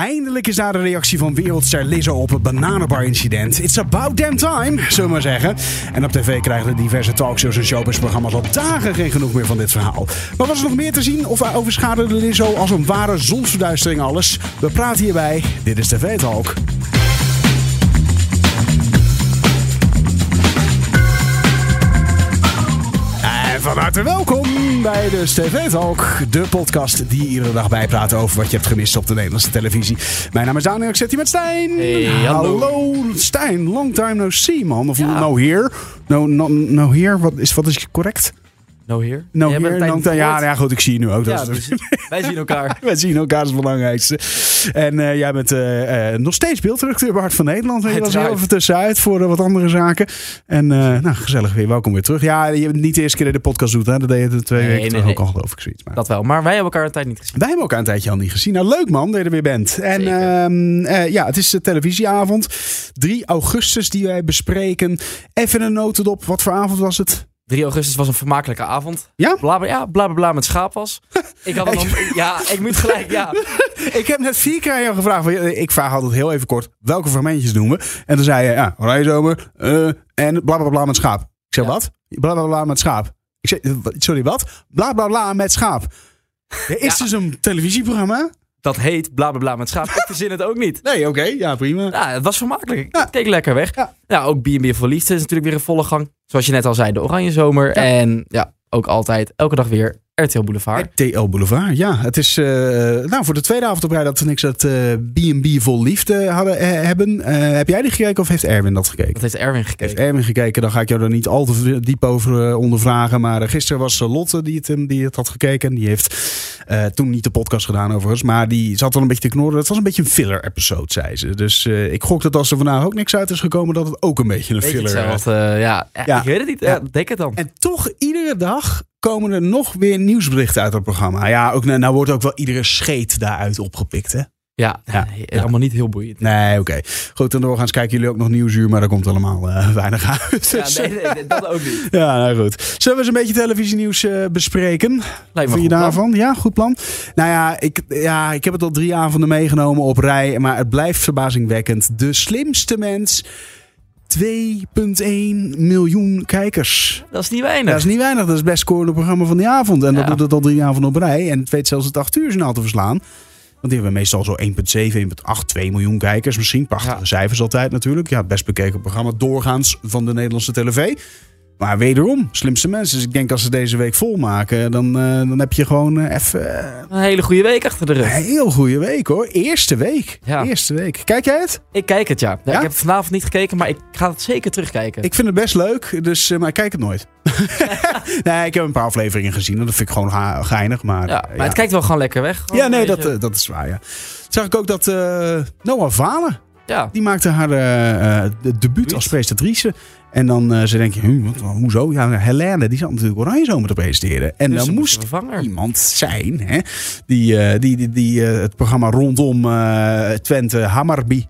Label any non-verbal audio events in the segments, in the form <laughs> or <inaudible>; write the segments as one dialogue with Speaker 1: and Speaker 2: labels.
Speaker 1: Eindelijk is daar de reactie van wereldster Lizzo op het bananenbar-incident. It's about damn time, zullen we maar zeggen. En op tv krijgen de diverse talkshows en showbizprogramma's al dagen geen genoeg meer van dit verhaal. Maar was er nog meer te zien of overschaduwde Lizzo als een ware zonsverduistering alles? We praten hierbij. Dit is TV Talk. En van harte welkom bij de TV Talk, de podcast die iedere dag bijpraat over wat je hebt gemist op de Nederlandse televisie. Mijn naam is Daan en ik zit hier met Stijn.
Speaker 2: Hey, hallo.
Speaker 1: Stijn, long time no see man. Of
Speaker 2: Ja.
Speaker 1: no here. No, no, no here, wat is, wat is correct?
Speaker 2: No here?
Speaker 1: No
Speaker 2: Jij bent
Speaker 1: here,
Speaker 2: bij
Speaker 1: long
Speaker 2: de
Speaker 1: time. Ja,
Speaker 2: woord.
Speaker 1: ja, goed, ik zie je nu ook. Dat
Speaker 2: Ja, dus-
Speaker 1: is-
Speaker 2: precies. <laughs> wij zien elkaar.
Speaker 1: We zien elkaar als het belangrijkste. En eh, jij bent eh, eh, nog steeds beeldredacteur bij Hart van Nederland. En Je was heel
Speaker 2: Uiteraard.
Speaker 1: even tussenuit voor eh, wat andere zaken. En eh, nou, gezellig weer. Welkom weer terug. Ja, je bent niet de eerste keer dat je de podcast doet. Hè? Dat deed je de twee
Speaker 2: Nee,
Speaker 1: weken
Speaker 2: nee,
Speaker 1: terug
Speaker 2: nee.
Speaker 1: ook al, geloof ik, zoiets. Maar...
Speaker 2: Dat wel, maar wij hebben elkaar een tijd niet gezien.
Speaker 1: Wij hebben elkaar een tijdje al niet gezien. Nou, leuk man dat je er weer bent. En
Speaker 2: Zeker.
Speaker 1: ehm, eh, ja, het is de televisieavond. 3 augustus die wij bespreken. Even een notendop. Wat voor avond was het?
Speaker 2: 3 augustus was een vermakelijke avond.
Speaker 1: Ja?
Speaker 2: Bla bla, ja, bla, bla, bla met
Speaker 1: <laughs>
Speaker 2: schaap was. Ik had een om- ja, ik moet gelijk, ja.
Speaker 1: Ik heb net vier keer aan jou gevraagd. want Ik vraag altijd heel even kort. Welke fragmentjes noemen? En toen zei je, ja, rijzomer eh, en bla bla bla met schaap. Ik zeg,
Speaker 2: Ja.
Speaker 1: wat? Bla bla bla met schaap. Ik zeg, eh, wat- sorry, wat? Bla bla bla met schaap. Er is
Speaker 2: Ja.
Speaker 1: dus een televisieprogramma?
Speaker 2: Dat heet bla bla, bla met schaap. Ik verzin het ook niet.
Speaker 1: Nee, oké. ja, prima.
Speaker 2: Ja, het was vermakelijk.
Speaker 1: Ja.
Speaker 2: Ik keek lekker weg.
Speaker 1: Ja.
Speaker 2: Ja, ook B&B voor Liefde is natuurlijk weer in volle gang. Zoals je net al zei, de Oranje Zomer. En ja, ook altijd, elke dag weer, RTL Boulevard.
Speaker 1: TL Boulevard, ja. Het is eh, nou, voor de tweede avond op rij dat we niks uit eh, B&B Vol Liefde hadden, eh, hebben. Eh, heb jij die gekeken of heeft Erwin dat gekeken?
Speaker 2: Dat heeft Erwin
Speaker 1: Heeft
Speaker 2: gekeken.
Speaker 1: Erwin gekeken, dan ga ik jou er niet al te diep over eh, ondervragen. Maar eh, gisteren was eh, Lotte die het, hem- die het had gekeken. Die heeft eh, toen niet de podcast gedaan overigens. Maar die zat wel een beetje te knorren. Het was een beetje een filler episode, zei ze. Dus eh, ik gok dat als er vandaag ook niks uit is gekomen, dat het ook een beetje een
Speaker 2: Weet je
Speaker 1: filler is.
Speaker 2: hetzelfde, eh, ja. Ja,
Speaker 1: Ja.
Speaker 2: ik weet het niet.
Speaker 1: Ja.
Speaker 2: Ja, denk het dan.
Speaker 1: En toch iedere dag komen er nog weer nieuwsberichten uit het programma. Ja, ook, nou nou wordt ook wel iedere scheet daaruit opgepikt, hè?
Speaker 2: Ja,
Speaker 1: Ja.
Speaker 2: nee, allemaal niet heel boeiend.
Speaker 1: Nee, oké. Goed, en doorgaans kijken jullie ook nog nieuwsuur, maar daar komt allemaal eh, <laughs> weinig uit.
Speaker 2: <laughs> Ja,
Speaker 1: Dus,
Speaker 2: nee, nee, nee, dat ook niet.
Speaker 1: Ja, nou goed. Zullen we eens een beetje televisienieuws eh, bespreken?
Speaker 2: Lijkt me
Speaker 1: Vind je
Speaker 2: goed plan.
Speaker 1: daarvan? Ja, goed plan. Nou ja ik, ja, ik heb het al drie avonden meegenomen op rij, maar het blijft verbazingwekkend. De slimste mens, 2,1 miljoen kijkers.
Speaker 2: Dat is niet weinig.
Speaker 1: Dat is niet weinig, dat is het best scorende programma van die avond. En dat
Speaker 2: Ja.
Speaker 1: doet het al drie avonden op rij. En het weet zelfs het 8 uur journaal te verslaan. Want die hebben meestal zo 1,7, 1,8, 2 miljoen kijkers misschien. Prachtige
Speaker 2: Ja.
Speaker 1: cijfers altijd natuurlijk. Ja, het best bekeken programma doorgaans van de Nederlandse tv. Maar wederom, slimste mensen. Dus ik denk als ze deze week volmaken, dan, eh, dan heb je gewoon eh, even eh,
Speaker 2: Een hele goede week achter de
Speaker 1: een
Speaker 2: rug.
Speaker 1: heel goede week hoor. Eerste week.
Speaker 2: Ja.
Speaker 1: Eerste week. Kijk jij het?
Speaker 2: Ik kijk het, ja. Ja,
Speaker 1: Ja?
Speaker 2: Ik heb het vanavond niet gekeken, maar ik ga het zeker terugkijken.
Speaker 1: Ik vind het best leuk, dus, eh, maar ik kijk het nooit. <laughs> nee, ik heb een paar afleveringen gezien. en Dat vind ik gewoon ha- geinig. Maar,
Speaker 2: ja,
Speaker 1: eh,
Speaker 2: maar
Speaker 1: ja.
Speaker 2: het kijkt wel gewoon lekker weg. Gewoon
Speaker 1: Ja, nee,
Speaker 2: een
Speaker 1: dat,
Speaker 2: beetje-
Speaker 1: eh, dat is waar. Ja. Zag ik ook dat eh, Noah Valen,
Speaker 2: ja.
Speaker 1: die maakte haar eh, eh, de debuut als presentatrice. En dan eh, ze denken, hm, wat, hoezo? Ja, Helene, die zat natuurlijk Oranje Zomer te presenteren. En
Speaker 2: Dus
Speaker 1: dan
Speaker 2: er
Speaker 1: moest
Speaker 2: een vervanger.
Speaker 1: iemand zijn hè, die, eh, die, die, die eh, het programma rondom eh, Twente, Hammarby.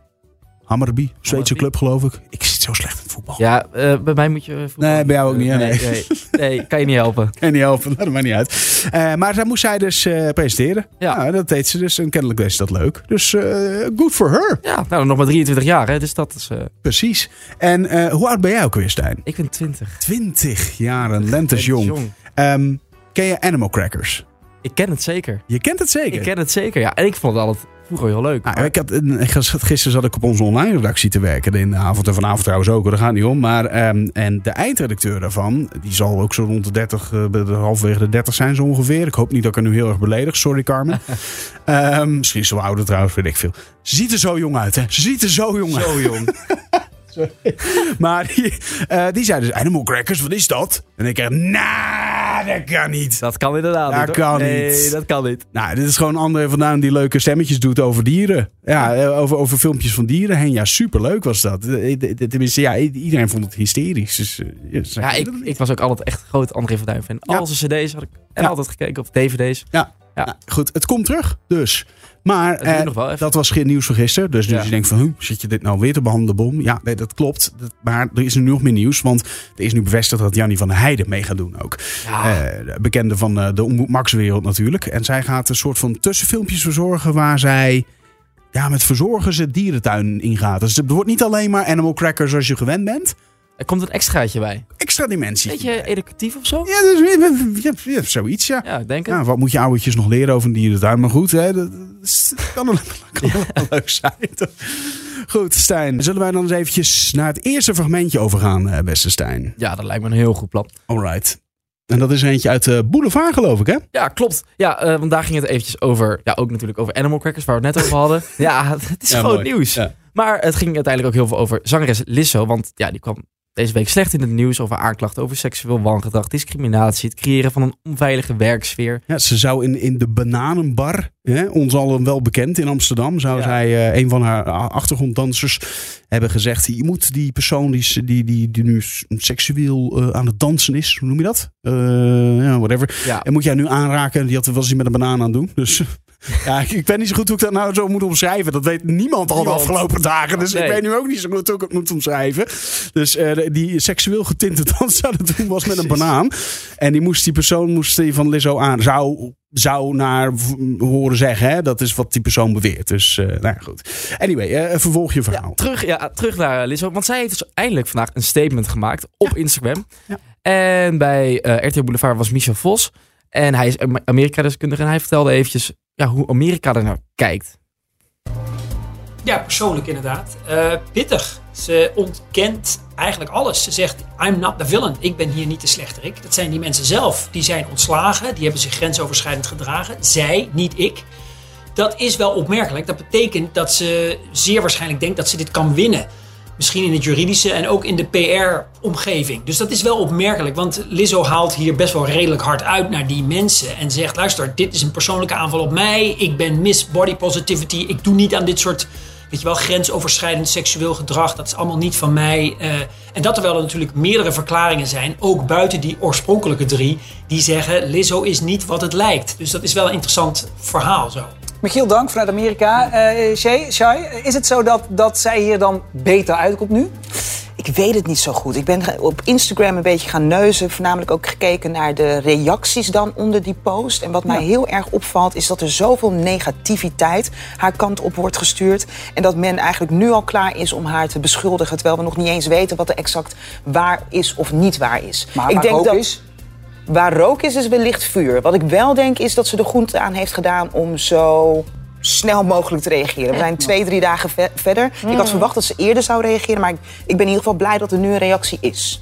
Speaker 1: Hammarby, Zweedse
Speaker 2: Hammarby.
Speaker 1: club geloof ik. Ik zit zo slecht in voetbal.
Speaker 2: Ja, eh, bij mij moet je. eh, voetbal-
Speaker 1: Nee, bij jou ook niet, hè?
Speaker 2: nee, nee, nee, kan je niet helpen.
Speaker 1: En die helft, dat maakt <laughs> niet uit. Eh, maar daar moest zij dus eh, presenteren.
Speaker 2: Ja.
Speaker 1: Nou, dat deed ze dus. En kennelijk deed ze dat leuk. Dus eh, good for her.
Speaker 2: Ja, nou, nog maar 23 jaar, hè, dus dat is. eh,
Speaker 1: Precies. En eh, hoe oud ben jij ook weer, Stijn?
Speaker 2: ik ben 20.
Speaker 1: 20 jaren, lentes jong. Ehm, ken je Animal Crackers?
Speaker 2: Ik ken het zeker.
Speaker 1: Je kent het zeker.
Speaker 2: Ik ken het zeker, ja. En ik vond het altijd vroeger heel leuk.
Speaker 1: Nou, ik had, een- ik was- gisteren zat ik op onze online redactie te werken in de avond. En vanavond trouwens ook, hoor, daar gaat het niet om. Maar, ehm, en de eindredacteur daarvan, die zal ook zo rond de 30, eh, bij de- halverwege de 30 zijn zo ongeveer. Ik hoop niet dat ik haar nu heel erg beledig, sorry Carmen. Ehm, misschien is ze wel ouder trouwens, weet ik veel. Ze ziet er zo jong uit, hè? Ze ziet er zo jong uit.
Speaker 2: Zo
Speaker 1: <laughs>
Speaker 2: jong.
Speaker 1: Maar <laughs> die, eh, die zei dus, Animal Crackers, wat is dat? En ik dacht, nou, dat kan niet.
Speaker 2: Dat kan inderdaad.
Speaker 1: Dat
Speaker 2: niet, hoor.
Speaker 1: kan
Speaker 2: nee,
Speaker 1: niet.
Speaker 2: dat kan niet.
Speaker 1: Nou, dit is gewoon André van Duin die leuke stemmetjes doet over dieren. Ja, eh, over, over filmpjes van dieren heen. Ja, superleuk was dat. Eh, eh, eh, Tenminste, ja, i- iedereen vond het hysterisch. Dus, eh, ja, ze-
Speaker 2: Ja, ik, ik was ook altijd echt groot André van Duin fan.
Speaker 1: Ja.
Speaker 2: Al zijn cd's had ik en
Speaker 1: Ja.
Speaker 2: altijd gekeken op dvd's.
Speaker 1: Nou, goed, het komt terug dus. Maar
Speaker 2: Dat doe
Speaker 1: eh,
Speaker 2: je nog wel even.
Speaker 1: dat was geen nieuws van gisteren. Dus nu
Speaker 2: Ja.
Speaker 1: je denkt van, huh, zit je dit nou weer te behandelen, bom? Ja, nee, dat klopt. Dat- maar er is nu nog meer nieuws. Want er is nu bevestigd dat Jannie van der Heijden mee gaat doen ook.
Speaker 2: Ja.
Speaker 1: Eh, de bekende van eh, de Omroep Max-wereld natuurlijk. En zij gaat een soort van tussenfilmpjes verzorgen waar zij ja, met verzorgers het dierentuin ingaat. Dus het wordt niet alleen maar animal crackers zoals je gewend bent.
Speaker 2: Er komt een extraatje bij.
Speaker 1: Extra dimensie.
Speaker 2: Beetje educatief of zo?
Speaker 1: Ja, dus, je, je, je, hebt zoiets, ja.
Speaker 2: Ja, ik denk het.
Speaker 1: Ja, wat moet je oudertjes nog leren over een dierentuin? Maar goed, hè, dat is- dat kan wel kan wel leuk zijn. toch? Goed, Stijn. Zullen wij dan eens eventjes naar het eerste fragmentje overgaan, eh, beste Stijn?
Speaker 2: Ja, dat lijkt me een heel goed plan.
Speaker 1: All right. En dat is eentje uit de Boulevard, geloof ik, hè?
Speaker 2: Ja, klopt. Ja, eh, want daar ging het eventjes over. Ja, ook natuurlijk over Animal Crackers, waar we het net over
Speaker 1: <laughs>
Speaker 2: hadden. Ja, het is
Speaker 1: Ja,
Speaker 2: groot
Speaker 1: mooi.
Speaker 2: nieuws.
Speaker 1: Ja.
Speaker 2: Maar het ging uiteindelijk ook heel veel over zangeres Lizzo. Want ja, die kwam deze week slecht in het nieuws over aanklachten over seksueel wangedrag, discriminatie, het creëren van een onveilige werksfeer.
Speaker 1: Ja, ze zou in, in de Bananenbar, hè, ons allen wel bekend in Amsterdam, zou
Speaker 2: Ja.
Speaker 1: zij eh, een van haar a- achtergronddansers hebben gezegd: Je moet die persoon die, s- die, die, die nu s- seksueel eh, aan het dansen is, hoe noem je dat? Eh, ja, whatever.
Speaker 2: Ja,
Speaker 1: En moet jij nu aanraken? Die had was hij met een banaan aan het doen.
Speaker 2: <laughs>
Speaker 1: Dus. Ja, ik, ik weet niet zo goed hoe ik dat nou zo moet omschrijven. Dat weet niemand al de
Speaker 2: Niemand.
Speaker 1: afgelopen dagen. Dus ik
Speaker 2: Nee.
Speaker 1: weet nu ook niet zo goed hoe ik het moet omschrijven. Dus eh, die seksueel getinte dans <laughs> aan het doen was met een
Speaker 2: Precies.
Speaker 1: banaan. En die, moest, die persoon moest die van Lizzo aan. Zou, zou naar v- horen zeggen. Hè? Dat is wat die persoon beweert. Dus eh, nou ja, goed. Anyway, eh, vervolg je verhaal.
Speaker 2: terug, ja, terug naar eh, Lizzo. Want zij heeft dus eindelijk vandaag een statement gemaakt op Instagram.
Speaker 1: Ja.
Speaker 2: En bij eh RTL Boulevard was Michel Vos. En hij is Am- Amerika-deskundige. En hij vertelde eventjes ja, hoe Amerika er naar kijkt.
Speaker 3: Ja, persoonlijk inderdaad. Eh, pittig. Ze ontkent eigenlijk alles. Ze zegt, I'm not the villain. Ik ben hier niet de slechterik. Dat zijn die mensen zelf. Die zijn ontslagen. Die hebben zich grensoverschrijdend gedragen. Zij, niet ik. Dat is wel opmerkelijk. Dat betekent dat ze zeer waarschijnlijk denkt dat ze dit kan winnen. Misschien in het juridische en ook in de PR-omgeving. Dus dat is wel opmerkelijk, want Lizzo haalt hier best wel redelijk hard uit naar die mensen. En zegt: luister, dit is een persoonlijke aanval op mij. Ik ben miss body positivity. Ik doe niet aan dit soort, weet je wel, grensoverschrijdend seksueel gedrag. Dat is allemaal niet van mij. Eh, en dat terwijl er natuurlijk meerdere verklaringen zijn, ook buiten die oorspronkelijke drie, die zeggen: Lizzo is niet wat het lijkt. Dus dat is wel een interessant verhaal zo.
Speaker 4: Michiel, dank vanuit Amerika. Eh Shay, Shay, is het zo dat, dat zij hier dan beter uitkomt nu?
Speaker 5: Ik weet het niet zo goed. Ik ben ge- op Instagram een beetje gaan neuzen. Voornamelijk ook gekeken naar de reacties dan onder die post. En wat mij heel erg opvalt is dat er zoveel negativiteit haar kant op wordt gestuurd. En dat men eigenlijk nu al klaar is om haar te beschuldigen. Terwijl we nog niet eens weten wat er exact waar is of niet waar is.
Speaker 4: Maar
Speaker 5: ik
Speaker 4: waar
Speaker 5: denk
Speaker 4: rook
Speaker 5: dat
Speaker 4: is?
Speaker 5: waar rook is, is wellicht vuur. Wat ik wel denk is dat ze de groente aan heeft gedaan om zo snel mogelijk te reageren. We zijn twee, drie dagen ve- verder. Ik had verwacht dat ze eerder zou reageren, maar ik, ik ben in ieder geval blij dat er nu een reactie is.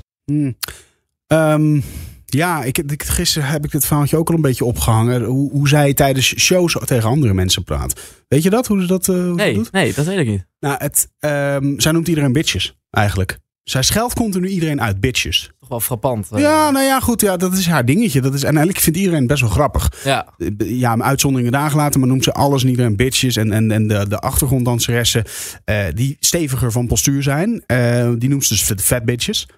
Speaker 1: Ehm, ja, ik, ik- gisteren heb ik dit verhaaltje ook al een beetje opgehangen. Hoe, hoe zij tijdens shows tegen andere mensen praat. Weet je dat? Hoe ze dat eh, hoe ze
Speaker 2: Nee,
Speaker 1: doet?
Speaker 2: nee, dat weet ik niet.
Speaker 1: Nou, het, ehm, zij noemt iedereen bitches, eigenlijk. Zij scheldt continu iedereen uit bitches.
Speaker 2: Toch wel frappant. eh.
Speaker 1: Ja, nou ja, goed. Ja, dat is haar dingetje. Dat is, en eigenlijk vindt iedereen best wel grappig.
Speaker 2: ja.
Speaker 1: Eh, Ja, maar uitzonderingen daar gelaten, maar noemt ze alles en iedereen bitches. En, en, en de, de achtergronddanseressen eh, die steviger van postuur zijn, eh, die noemt ze dus fat- fat bitches.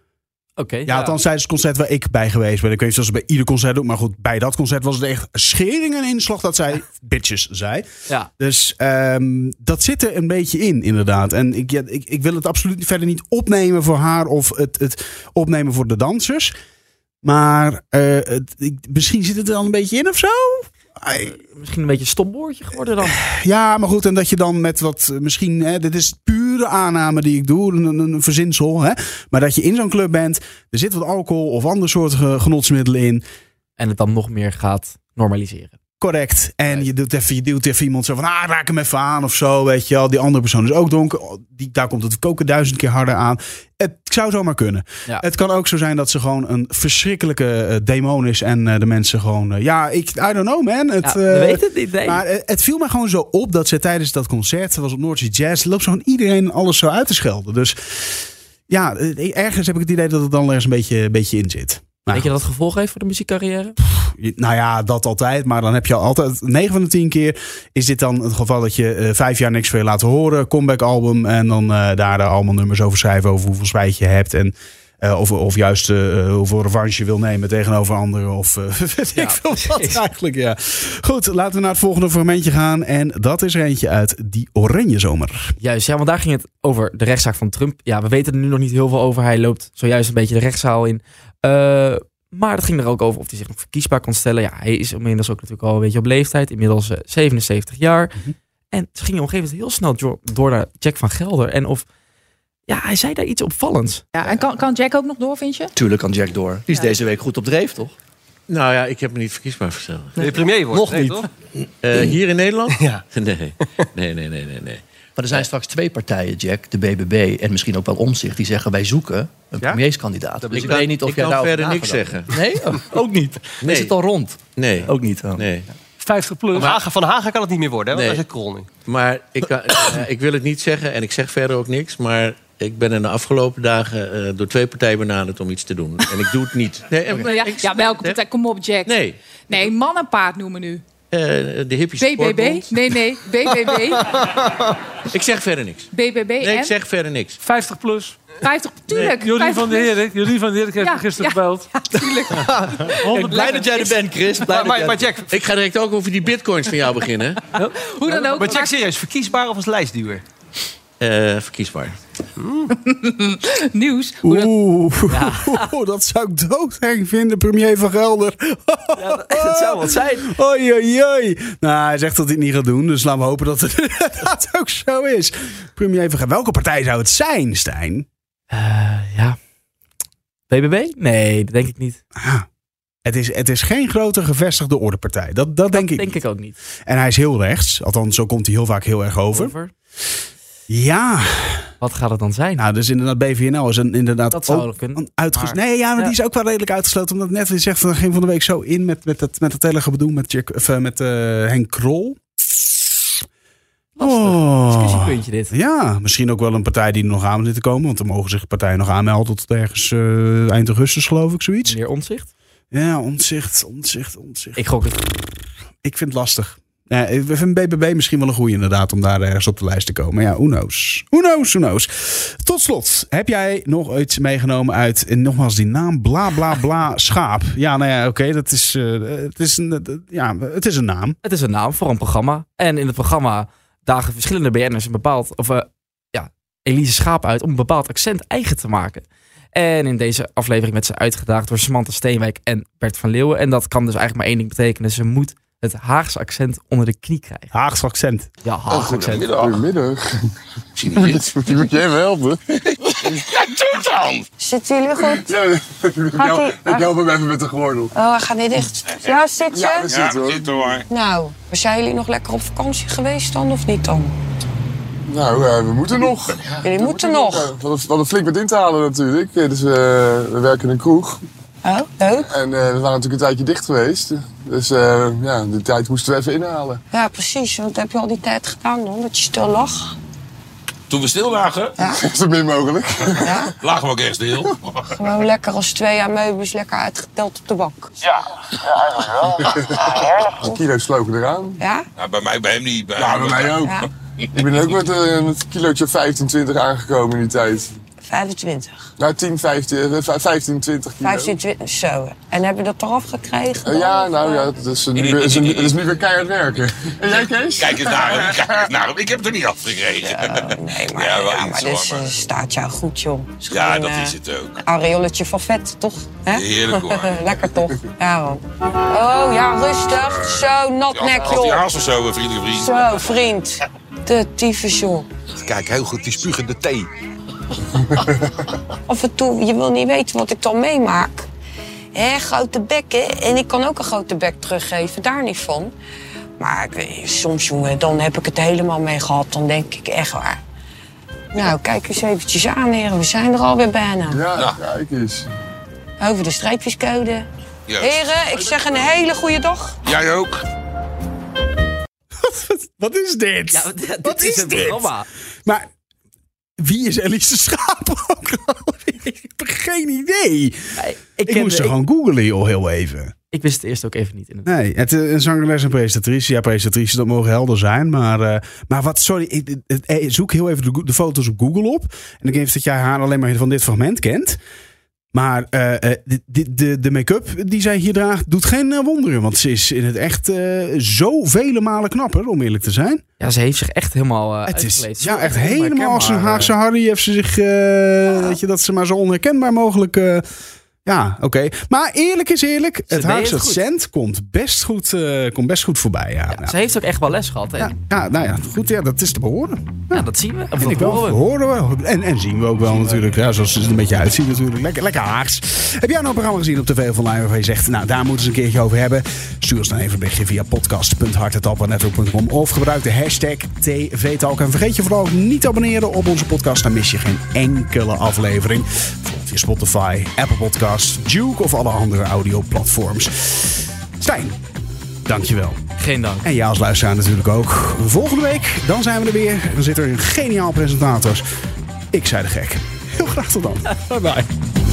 Speaker 2: Oké.
Speaker 1: Ja, althans tijdens het concert waar ik bij geweest ben. Ik weet niet of ze bij ieder concert doet, maar goed, bij dat concert was het echt schering en inslag dat zij <laughs> bitches zei.
Speaker 2: Ja.
Speaker 1: Dus ehm, dat zit er een beetje in, inderdaad. En ik, ja, ik, ik wil het absoluut verder niet opnemen voor haar of het, het opnemen voor de dansers. Maar eh, het, ik, misschien zit het er al een beetje in of zo? Ai,
Speaker 2: Misschien een beetje een stom woordje geworden dan.
Speaker 1: Ja, maar goed. En dat je dan met wat eh, misschien, hè, dit is pure aanname die ik doe, een, een, een verzinsel. Hè? Maar dat je in zo'n club bent, er zit wat alcohol of ander soort eh, genotsmiddelen in.
Speaker 2: En het dan nog meer gaat normaliseren.
Speaker 1: Correct. En je, doet even, je duwt even iemand zo van, ah, raak hem even aan of zo, weet je wel. Die andere persoon is ook donker. Oh, Die, daar komt het koken duizend keer harder aan. Het zou zomaar kunnen.
Speaker 2: Ja.
Speaker 1: Het kan ook zo zijn dat ze gewoon een verschrikkelijke eh, demon is en eh, de mensen gewoon, eh, ja, ik, I don't know man. Het, eh,
Speaker 2: Ja, we weten het niet. Nee.
Speaker 1: Maar eh, het viel mij gewoon zo op dat ze tijdens dat concert, ze was op Noordzee Jazz, loopt zo gewoon iedereen alles zo uit te schelden. Dus ja, eh, ergens heb ik het idee dat het dan ergens een beetje, een beetje in zit.
Speaker 2: Denk je dat het gevolgen heeft voor de muziekcarrière?
Speaker 1: Je- Nou ja, dat altijd. Maar dan heb je altijd 9 van de 10 keer is dit dan het geval dat je eh, vijf jaar niks veel laten horen. Comeback album. En dan eh, daar eh, allemaal nummers over schrijven. Over hoeveel spijt je hebt. En eh, of, of juist eh, hoeveel revanche je wil nemen tegenover anderen. Of eh, <laughs> weet
Speaker 2: Ja,
Speaker 1: ik veel wat
Speaker 2: precies.
Speaker 1: eigenlijk. Ja. Goed, laten we naar het volgende fragmentje gaan. En dat is er eentje uit die oranje zomer.
Speaker 2: Juist, ja, want daar ging het over de rechtszaak van Trump. Ja, we weten er nu nog niet heel veel over. Hij loopt zojuist een beetje de rechtszaal in. Eh, maar het ging er ook over of hij zich
Speaker 1: Mhm.
Speaker 2: nog verkiesbaar kon stellen. Ja, hij is inmiddels ook natuurlijk al een beetje op leeftijd. Inmiddels eh, 77 jaar. En toen ging je op een gegeven moment heel snel door, door naar Jack van Gelder. En of, ja, hij zei daar iets opvallends.
Speaker 6: Ja, en kan, kan Jack ook nog door, vind je?
Speaker 7: Tuurlijk kan Jack door. Die is
Speaker 6: Ja.
Speaker 7: deze week goed op dreef, toch?
Speaker 8: Nou ja, ik heb me niet verkiesbaar gesteld.
Speaker 9: Wil je premier worden?
Speaker 7: Nog
Speaker 9: Nee,
Speaker 7: niet.
Speaker 9: toch?
Speaker 8: Eh, hier in Nederland?
Speaker 7: <laughs> Ja.
Speaker 8: <laughs> Nee. Nee, nee, nee, nee, nee.
Speaker 7: Maar er zijn straks twee partijen, Jack, de BBB en misschien ook wel Omzicht, die zeggen wij zoeken een
Speaker 8: Ja?
Speaker 7: premierskandidaat.
Speaker 9: Dat
Speaker 7: Dus ik
Speaker 8: kan-
Speaker 7: weet niet of
Speaker 8: ik
Speaker 7: jij
Speaker 8: kan
Speaker 7: daarover
Speaker 8: verder niks
Speaker 7: nagedacht hebt. Nee,
Speaker 8: <laughs>
Speaker 7: Oh, ook niet.
Speaker 8: Nee.
Speaker 7: Is het al rond?
Speaker 8: Nee.
Speaker 7: Ook niet. oh.
Speaker 8: Nee.
Speaker 9: 50 plus. Van Hagen, van Hagen kan het niet meer worden, hè? want
Speaker 8: Nee.
Speaker 9: hij is een krol nu.
Speaker 8: Maar ik, kan- eh, <coughs> ik wil het niet zeggen en ik zeg verder ook niks. Maar ik ben in de afgelopen dagen eh, door twee partijen benaderd om iets te doen. En ik doe het niet. Nee, en-
Speaker 6: Ja,
Speaker 8: ik-
Speaker 6: ja welke partij? Kom op, Jack.
Speaker 8: Nee,
Speaker 6: Nee, man en paard noemen nu.
Speaker 8: eh, de hippies.
Speaker 6: BBB? Nee,
Speaker 9: <laughs>
Speaker 6: nee. BBB.
Speaker 8: Ik zeg verder niks.
Speaker 6: BBB
Speaker 8: Nee,
Speaker 6: en
Speaker 8: ik zeg verder niks.
Speaker 9: 50 plus.
Speaker 6: 50. Tuurlijk.
Speaker 9: Jorien van der
Speaker 6: 50.
Speaker 9: Herik. Jorien van der Herik heeft
Speaker 6: Ja,
Speaker 9: me gisteren
Speaker 6: ja.
Speaker 9: gebeld.
Speaker 6: Ja, tuurlijk.
Speaker 7: Blij dat jij er bent, Chris. Blij dat jij
Speaker 9: Maar, maar,
Speaker 7: er
Speaker 9: maar
Speaker 7: bent.
Speaker 9: Jack,
Speaker 8: Ik ga direct ook over die bitcoins van jou
Speaker 7: <laughs>
Speaker 8: beginnen.
Speaker 6: <laughs> Hoe dan ook.
Speaker 9: maar Jack,
Speaker 6: maar-
Speaker 9: serieus, verkiesbaar of als lijstduwer?
Speaker 8: Eh, verkiesbaar.
Speaker 6: nieuws. Hoe dan-
Speaker 1: Oeh, <laughs> dat zou ik doodeng vinden, premier Van Gelder.
Speaker 7: Het zou wat zijn.
Speaker 1: Oei, oei, oei. Nou, hij zegt dat hij het niet gaat doen, dus laten we hopen dat het <laughs> inderdaad ook zo is. Premier Van Gelder, welke partij zou het zijn, Stijn?
Speaker 2: Eh, ja. BBB? Nee, dat denk ik niet.
Speaker 1: Ah, het, is, het is geen grote gevestigde ordepartij, dat, dat, denk ik.
Speaker 2: Denk
Speaker 1: niet.
Speaker 2: ik Oh. ook niet.
Speaker 1: En hij is heel rechts, althans zo komt hij heel vaak heel erg over.
Speaker 2: Over.
Speaker 1: Ja,
Speaker 2: Wat gaat het dan zijn?
Speaker 1: nou dus inderdaad BVNL is een, inderdaad
Speaker 2: dat zou
Speaker 1: ook
Speaker 2: wel kunnen.
Speaker 1: Een uitges-
Speaker 2: Maar-
Speaker 1: nee, ja, maar die
Speaker 2: Ja.
Speaker 1: is ook wel redelijk uitgesloten. Omdat net weer zegt van geen van de week zo in met, met, dat, met dat hele gedoe met, Jack, of, eh, met eh, Henk Krol. Oh.
Speaker 2: Discussiepuntje dit.
Speaker 1: Ja, misschien ook wel een partij die er nog aan zit te komen. Want er mogen zich partijen nog aanmelden tot ergens eh, eind augustus, geloof ik, zoiets.
Speaker 2: Meneer Omtzigt?
Speaker 1: Ja, ontzicht, ontzicht, ontzicht. Ik,
Speaker 2: Ik gok het.
Speaker 1: ik vind het lastig. Ja, ik vind BBB misschien wel een goede inderdaad om daar ergens op de lijst te komen. Ja, who knows. Who knows, who knows. Tot slot, heb jij nog iets meegenomen uit, en nogmaals die naam, bla bla <laughs> bla schaap. Ja, nou ja, oké, dat is, eh, het, is een, eh, ja, het is een naam.
Speaker 2: Het is een naam voor een programma. En in het programma dagen verschillende BN'ers een bepaald, of eh, ja, Elise Schaap uit om een bepaald accent eigen te maken. En in deze aflevering werd ze uitgedaagd door Samantha Steenwijk en Bert van Leeuwen. En dat kan dus eigenlijk maar één ding betekenen. Ze moet het Haagse accent onder de knie krijgen. Oh,
Speaker 1: Haagse accent.
Speaker 2: Ja, Haagse accent.
Speaker 10: Goedemiddag. Moet jij me helpen?
Speaker 11: Zitten jullie goed?
Speaker 10: Ja, ik help, ik help hem even met de gordel.
Speaker 11: Oh, hij gaat niet dicht. Ja, zit je?
Speaker 10: Ja, dat zit hoor.
Speaker 11: Nou, zijn jullie nog lekker op vakantie geweest dan of niet dan?
Speaker 10: Nou, eh, we moeten nog. We
Speaker 11: Jullie moeten nog.
Speaker 10: hadden- We hadden flink wat in te halen natuurlijk. Eh, Dus eh, we werken in een kroeg.
Speaker 11: Oh, leuk.
Speaker 10: En eh, we waren natuurlijk een tijdje dicht geweest. Dus eh, ja, die tijd moesten we even inhalen.
Speaker 11: Ja, precies. Wat heb je al die tijd gedaan dan? Dat je stil lag?
Speaker 12: Toen we stil lagen,
Speaker 10: <laughs> Zo min mogelijk.
Speaker 11: Ja.
Speaker 12: lagen we ook echt stil.
Speaker 11: Gewoon lekker als twee ameubes lekker uitgeteld op de bank.
Speaker 10: Kilo's slogen eraan.
Speaker 11: Ja?
Speaker 12: nou, bij mij, bij hem niet. Bij
Speaker 10: Ja, bij mij ook.
Speaker 11: Ja.
Speaker 10: Ik ben ook met, eh, met een kilootje 15, 20 aangekomen in die tijd.
Speaker 11: 25.
Speaker 10: Nou, 10, 15, eh, 15 20 kilo.
Speaker 11: 15, 20. Zo. En heb je dat eraf gekregen?
Speaker 10: Eh,
Speaker 11: dan?
Speaker 10: ja, nou ja, het is, nu, weer- het is, nu- het is nu weer keihard werken. En jij, Kees?
Speaker 12: Kijk eens naar hem, kijk eens naar hem. Ik heb het er niet afgekregen.
Speaker 11: Oh, nee, maar,
Speaker 12: Ja,
Speaker 11: ja,
Speaker 12: wel
Speaker 11: maar
Speaker 12: iets,
Speaker 11: dit
Speaker 12: hoor, maar-
Speaker 11: eh, staat jou goed, joh. Is
Speaker 12: Ja,
Speaker 11: gewoon,
Speaker 12: dat
Speaker 11: eh,
Speaker 12: is het ook.
Speaker 11: Areolletje van vet, toch? Hè?
Speaker 12: Heerlijk, hoor.
Speaker 11: Lekker toch? Ja, man. Oh ja, rustig. Zo, natnek,
Speaker 12: Als die
Speaker 11: joh.
Speaker 12: haas of zo, eh, vrienden, vrienden.
Speaker 11: Zo, vriend. De tyfus, joh.
Speaker 12: Kijk, heel goed, die spugen de thee.
Speaker 11: Af en toe, je wil niet weten wat ik dan meemaak. Hè, grote bekken. En ik kan ook een grote bek teruggeven, daar niet van. Maar ik weet, soms, jongen, dan heb ik het helemaal mee gehad. Dan denk ik echt waar. Nou, kijk eens eventjes aan, heren. We zijn er alweer bijna.
Speaker 10: Ja, kijk eens.
Speaker 11: Over de streepjescode.
Speaker 12: Ja.
Speaker 11: Heren, ik zeg een hele goede dag.
Speaker 12: Jij ook?
Speaker 1: Wat is dit?
Speaker 2: Ja, want dit
Speaker 1: Wat is
Speaker 2: is een
Speaker 1: dit?
Speaker 2: programma.
Speaker 1: Maar wie is Elise Schaap ook? <laughs> ik heb geen idee.
Speaker 2: Ik,
Speaker 1: Ik,
Speaker 2: kende-
Speaker 1: moest ze
Speaker 2: ik-
Speaker 1: gewoon googlen, joh, heel even.
Speaker 2: ik wist het eerst ook even niet. inderdaad.
Speaker 1: Nee, het is een zangeres en presentatrice. Ja, presentatrice, dat mogen helder zijn. Maar, eh, maar wat, sorry, ik, ik- ik- zoek heel even de, go- de foto's op Google op. En ik denk dat jij haar alleen maar van dit fragment kent. Maar eh, eh, de, de- de, de make-up die zij hier draagt, doet geen eh, wonderen. Want ze is in het echt eh zo vele malen knapper, om eerlijk te zijn.
Speaker 2: Ja, ze heeft zich echt helemaal eh,
Speaker 1: Ah, het is
Speaker 2: uitgekleed.
Speaker 1: ja, echt
Speaker 2: Zo onherkenbaar,
Speaker 1: helemaal als een
Speaker 2: eh.
Speaker 1: Haagse Harry. Heeft ze zich, eh, weet je, dat ze maar zo onherkenbaar mogelijk... eh, Ja, oké. Maar eerlijk is eerlijk, het
Speaker 2: deed
Speaker 1: Haagse
Speaker 2: het goed.
Speaker 1: accent komt best goed, eh, komt best goed voorbij. Ja, ja.
Speaker 2: Ze heeft ook echt wel les gehad. hè?
Speaker 1: Ja, nou ja, goed, ja, dat is te behoren.
Speaker 2: Ja, dat zien we. Of
Speaker 1: Vind
Speaker 2: dat
Speaker 1: ik wel,
Speaker 2: horen we.
Speaker 1: horen we. En, en zien we ook wel natuurlijk. Ja, zoals het er een beetje uitziet natuurlijk. Lekker, lekker haags. Heb jij nou een programma gezien op TV of online waarvan je zegt... nou, daar moeten ze een keertje over hebben? Stuur ons dan even een berichtje via podcast.hartetappanetto.com of gebruik de hashtag TVTalk. En vergeet je vooral ook niet te abonneren op onze podcast. Dan mis je geen enkele aflevering. Volg via Spotify, Apple Podcasts, Duke of alle andere audioplatforms. Stijn, dankjewel.
Speaker 2: Geen dank.
Speaker 1: En ja, als luisteraar natuurlijk ook. Volgende week, dan zijn we er weer. Dan zit er een geniaal presentator. Ik zei de gek. Heel graag tot dan. Bye bye.